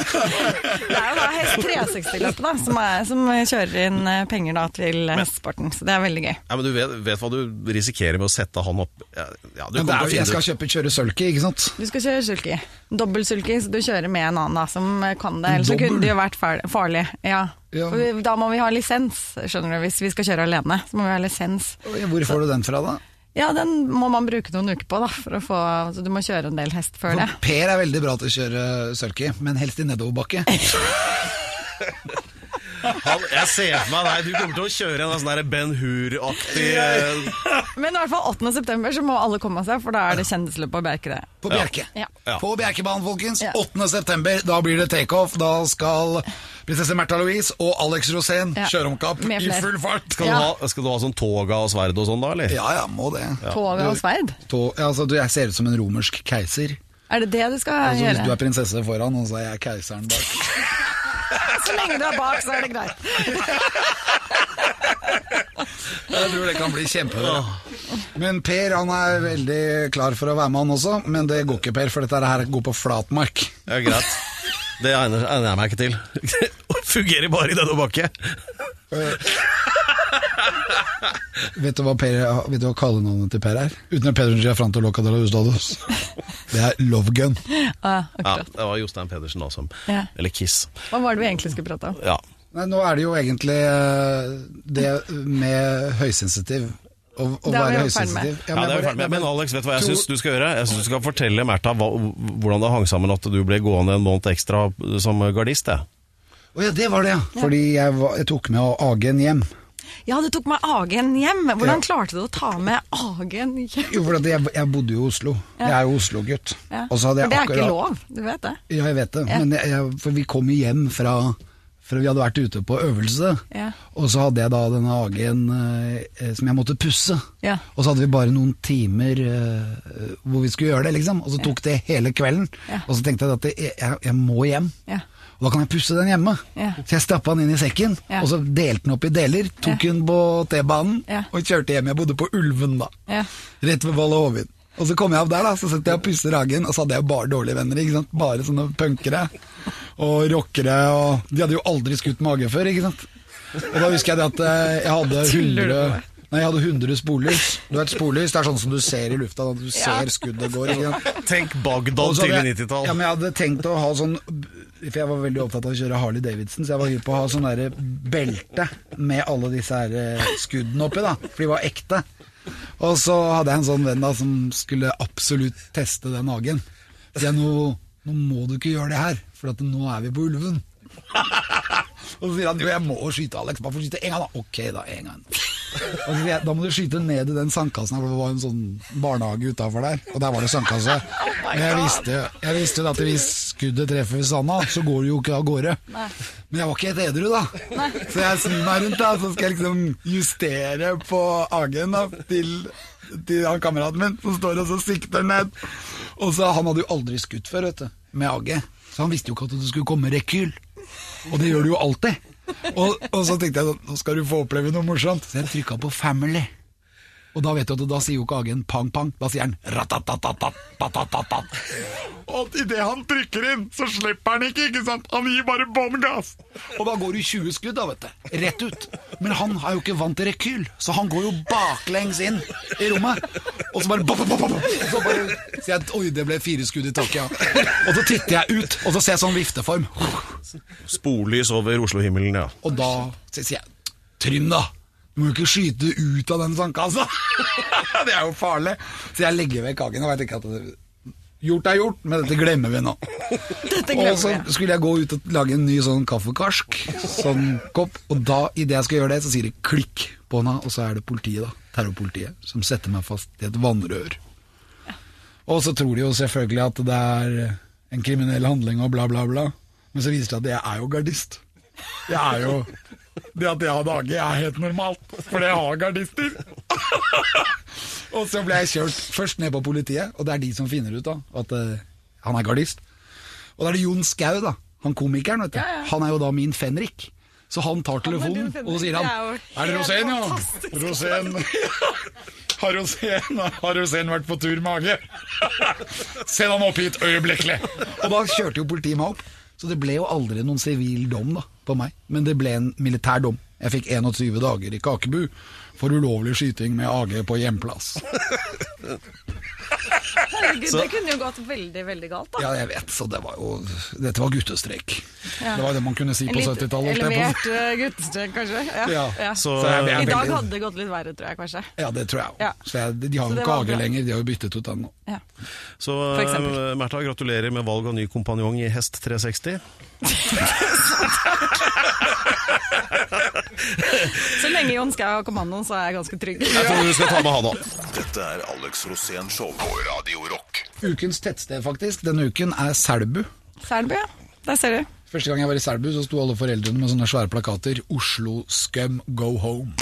Det er jo da Hest 360-løpet da, som, er, som kjører inn eh, penger da, til hestesporten, så det er veldig gøy. Ja, men du vet, vet hva du risikerer med å sette han opp Ja, ja, du Men det kommer er, jo- til å jeg finne skal ut. kjøpe, kjøre sølke, ikke sant? Du skal kjøre sulky. Dobbel sulky, så du kjører med en annen da, som eh, kan det. Ellers så Dobbel? kunne det jo vært far- farlig. Ja. Ja. For vi- Da må vi ha lisens, skjønner du. Hvis vi skal kjøre alene, så må vi ha lisens. Hvor får du den fra, da? Ja, den må man bruke noen uker på, da, for å få Så du må kjøre en del hest før det. Per er veldig bra til å kjøre sølke, men helst i nedoverbakke. Han, jeg ser for meg deg, du kommer til å kjøre en sånn der Ben Hur-aktig eh, Men i hvert fall 8. september så må alle komme seg, for da er det kjendisløp på Bjerke. det. På Bjerke. Ja. Ja. På Bjerkebanen, folkens. Ja. 8. september, da blir det takeoff. Da skal prinsesse Märtha Louise og Alex Rosén Ja. kjøre om kapp Med i flere. full fart. skal, Ja. du ha, skal du ha sånn toga og sverd og sånn da, eller? Ja, ja, må det. Toget og sverd. Tå- ja, altså, du, jeg ser ut som en romersk keiser. Er det det du skal Altså, hvis du gjøre? er prinsesse foran, og så er jeg keiseren bak. Så lenge du er bak, så er det greit. Jeg tror det kan bli kjempebra. Men Per han er veldig klar for å være med, han også. Men det går ikke, Per, for dette her går på flatmark. Ja, greit. Det egner, egner jeg meg ikke til. Fungerer bare i denne bakke. Vet du hva, per, vet du hva kallenavnet til Per er? Uten at Pedersen sier Franto Loca de la Hustados. Det er Love Gun. Ah, Ja, akkurat. det var Jostein Pedersen da som Ja. Eller Kiss. Hva var det vi egentlig skulle prate om? Ja. Nei, nå er det jo egentlig eh, det med høysensitiv. Å, å Det er vi være jo ferdig med. høysensitiv. Ja, Ja, det men er jeg jo ferdig med. bare- Men Alex, vet du hva jeg Tror- syns du skal gjøre? Jeg syns du skal fortelle Märtha hva- hvordan det hang sammen at du ble gående en måned ekstra som gardist. jeg. Å ja, det var det, ja. Fordi jeg, var, jeg tok med Agen hjem. Ja, du tok med Agen hjem. Hvordan Ja. klarte du å ta med Agen hjem? Jo, for at jeg, jeg bodde jo i Oslo. Jeg er jo Oslo-gutt. Ja. Og så hadde jeg For det er akkurat- ikke lov, du vet det. Ja, jeg vet det. Ja. Men jeg, jeg, for vi kom jo hjem fra, fra Vi hadde vært ute på øvelse, Ja. og så hadde jeg da denne hagen eh, som jeg måtte pusse. Ja. Og så hadde vi bare noen timer eh, hvor vi skulle gjøre det, liksom. Og så tok det hele kvelden. Ja. Og så tenkte jeg at det, jeg, jeg må hjem. Ja. Og da kan jeg pusse den hjemme. Ja. Så jeg stappa den inn i sekken, Ja. og så delte den opp i deler. Tok den på T-banen Ja. og kjørte hjem. Jeg bodde på Ulven da. Ja. Rett ved Valle Hovin. Og så kom jeg opp der, da, så satt jeg og pusset ragen, og så hadde jeg bare dårlige venner. ikke sant? Bare sånne punkere og rockere. og De hadde jo aldri skutt mage før, ikke sant. Og da husker jeg det at eh, jeg hadde Tuller 100, du med meg? nei, jeg hadde 100 sporlys. Du vet, sporlys det er sånn som du ser i lufta, da du ser skuddet går. ikke sant? Tenk Og Bagdad så hadde tidlig jeg- 90-tall. Ja, men jeg hadde tenkt å ha sånn For jeg var veldig opptatt av å kjøre Harley Davidson, så jeg var hypp på å ha sånn derre belte med alle disse her eh, skuddene oppi, da. For de var ekte. Og så hadde jeg en sånn venn da som skulle absolutt teste den hagen. Så jeg nå, nå må du ikke gjøre det her, for at nå er vi på Ulven. Og så sier han jo, jeg må skyte Alex, bare for å skyte én gang, da. Ok, da, én gang. Og så sier jeg, da må du skyte ned i den sandkassen her, for det var en sånn barnehage utafor der. Og der var det sandkasse. Men jeg visste, jo- jeg visste jo at hvis skuddet treffer sanda, så går det jo ikke av gårde. Men jeg var ikke helt edru, da. Så jeg snur meg rundt, da, så skal jeg liksom justere på agen da, til, til han kameraten min, som står og så sikter ned. Og så, Han hadde jo aldri skutt før, vet du, med AG. Så han visste jo ikke at det skulle komme rekyl. Og det gjør du jo alltid. Og, og så tenkte jeg sånn, nå skal du få oppleve noe morsomt. Så jeg trykka på Family. Og da vet du at da sier jo ikke Hagen pang-pang, da sier han ratatatatatatatat. Og idet han trykker inn, så slipper han ikke, ikke sant? Han gir bare bånn gass. Og da går du 20 skudd, da, vet du. Rett ut. Men han er jo ikke vant til rekyl, så han går jo baklengs inn i rommet. Og så bare, bop, bop, bop, bop. Og så bare sier jeg oi, det ble fire skudd i taket, ja. Og så titter jeg ut, og så ser jeg sånn vifteform. Sporlys over Oslo-himmelen, ja. Og da sier jeg Trym, da! Du må jo ikke skyte ut av den sandkassa! det er jo farlig! Så jeg legger vekk hagen. Og jeg tenker at det- gjort er gjort, men dette glemmer vi nå. glemmer og så skulle jeg gå ut og lage en ny sånn kaffekarsk, sånn kopp, og da, idet jeg skal gjøre det, så sier det klikk på henne, og så er det politiet, da. Terrorpolitiet, som setter meg fast i et vannrør. Og så tror de jo selvfølgelig at det er en kriminell handling og bla, bla, bla. Men så viser det seg at jeg er jo gardist. Jeg er jo Det at jeg hadde AG er helt normalt, for jeg har gardister. Og så ble jeg kjørt først ned på politiet, og det er de som finner ut da at eh, han er gardist. Og da er det Jon Skau, da. Han komikeren, vet du. Han er jo da min Fenrik. Så han tar telefonen, og så sier han Er det Rosén, ja? Rosén Har Rosén, har Rosén vært på tur med AG? Send han opp hit øyeblikkelig! Og da kjørte jo politiet meg opp. Så det ble jo aldri noen sivil dom da, på meg, men det ble en militær dom. Jeg fikk 21 dager i Kakebu for ulovlig skyting med AG på hjemplass. Herregud, det kunne jo gått veldig, veldig galt, da. Ja, jeg vet, så det var jo Dette var guttestreik. Det var det man kunne si på litt 70-tallet. holdt jeg på å si. elevert eh, uh, guttestrøk, kanskje. Ja. Ja, så- Så jeg- jeg er I dag veldig- hadde det gått litt verre, tror jeg kanskje. Ja, det tror jeg òg. Ja. Så jeg- De har Så jo det ikke var AG bra. lenger, de har jo byttet ut den nå. Ja. Så For eksempel. eh, Märtha, gratulerer med valg av ny kompanjong i Hest 360. Så lenge Jon Skau har kommandoen, så er jeg ganske trygg. Jeg tror du skal ta med han, da. Dette er Alex Rosén Show på Radio Rock. Ukens tettsted, faktisk, denne uken er Selbu. Selbu, ja. Der ser du. Første gang jeg var i Selbu, så sto alle foreldrene med sånne svære plakater 'Oslo scum go home'.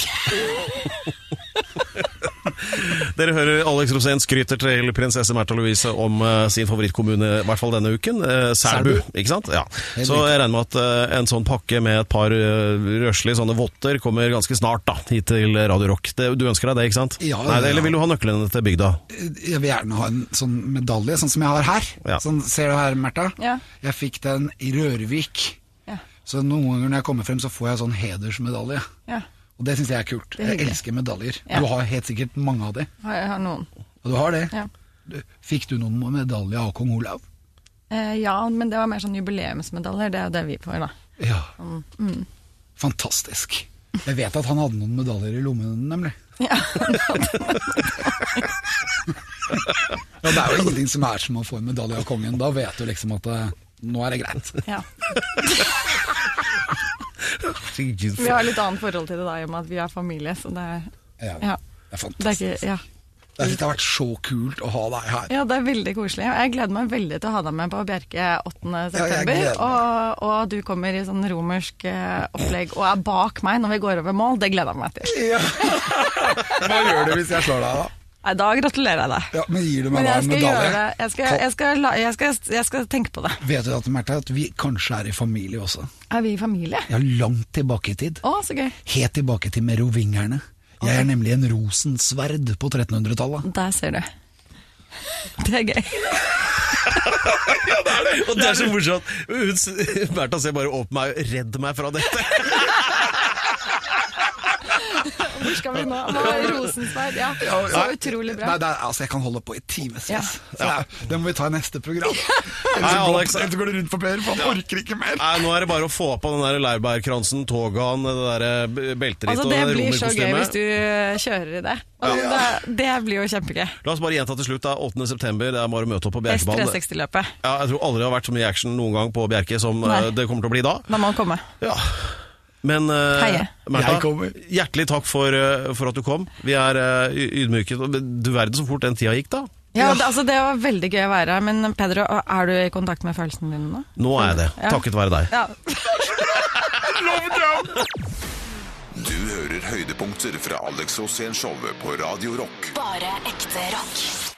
Dere hører Alex Rosén skryter til prinsesse Märtha Louise om eh, sin favorittkommune, i hvert fall denne uken, eh, Selbu. Selbu. Ikke sant? Ja. Så jeg regner med at eh, en sånn pakke med et par eh, røslige sånne votter kommer ganske snart da, hit til Radio Rock. Det, du ønsker deg det, ikke sant? Ja, Nei, ja. Eller vil du ha nøklene til bygda? Jeg vil gjerne ha en sånn medalje, sånn som jeg har her. Ja. Sånn, ser du her, Märtha? Ja. Jeg fikk den i Rørvik. Ja. Så noen ganger når jeg kommer frem, så får jeg sånn hedersmedalje. Ja. Og det syns jeg er kult. er Jeg hyggelig. elsker medaljer. Ja. Du har helt sikkert mange av de. Har, har noen. Og du har det. Ja. Du- Fikk du noen medalje av kong Olav? Eh, ja, men det var mer sånn jubileumsmedaljer. Det er jo det vi får, da. Ja. Mm. Fantastisk. Jeg vet at han hadde noen medaljer i lommen, nemlig. Ja. Ja, det er jo ingenting som er som å få en medalje av kongen. Da vet du liksom at eh, nå er det greit. ja. Vi Ja, har litt annet forhold til det da, i og med at vi er familie, så det er Ja. Det er Ja. Det, er fantastisk. ikke, ja. Det har ikke vært så kult å ha deg her. ja, det er veldig koselig. Jeg gleder meg veldig til å ha deg med på Bjerke 8. september. gleder meg. og, og du kommer i sånn romersk eh, opplegg og er bak meg når vi går over mål. Det gleder jeg meg til. Hva gjør du hvis jeg slår deg, da? Nei, da gratulerer jeg deg. Ja, men gir du meg Men da jeg en skal gjøre medalje? det. Jeg skal, jeg skal, la- jeg skal, jeg skal tenke på det. Vet du at, Märtha, at vi kanskje er i familie også? Er vi familie? Ja, langt tilbake i tid. Å, så gøy. Helt tilbake til merovingerne. Jeg er nemlig en rosensverd på 1300-tallet. Der ser du. Det er gøy. Og det er så morsomt. Hun s- Märtha ser bare opp på meg og 'redd meg fra dette'. Hvor skal vi nå? Nå er Rosensverd, ja. Så Nei, utrolig Nei, bra. det er, altså, jeg kan holde på i timevis. Ja. Ja. Det må vi ta i neste program. Nei, Alex. Så går det rundt for Per, for han orker ikke mer. Nei, nå er det bare å få på den der laurbærkransen, togaen, det der eh, b- belterittet Altså, og det det blir så gøy hvis romerkostymet. du eh, kjører i det. Altså, det. Det blir jo kjempegøy. La oss bare gjenta til slutt, da. 8. september, det er bare å møte opp på Best Bjerkebanen. 360-løpet. Ja, jeg tror aldri det har vært så mye action noen gang på Bjerke som Nei. eh, det kommer til å bli da. Da må han komme. Ja. Men eh, Heie. Märtha, Jeg kommer. hjertelig takk for, eh, for at du kom. Vi er eh, y- ydmyket. Men Du verden så fort den tida gikk, da. Ja, det, altså, det var veldig gøy å være her. Men Pedro, er du i kontakt med følelsene dine nå? Nå er jeg det, Ja. takket være deg. Ja. Du hører høydepunkter fra Alex Rosén-showet på Radio Rock. Bare ekte rock.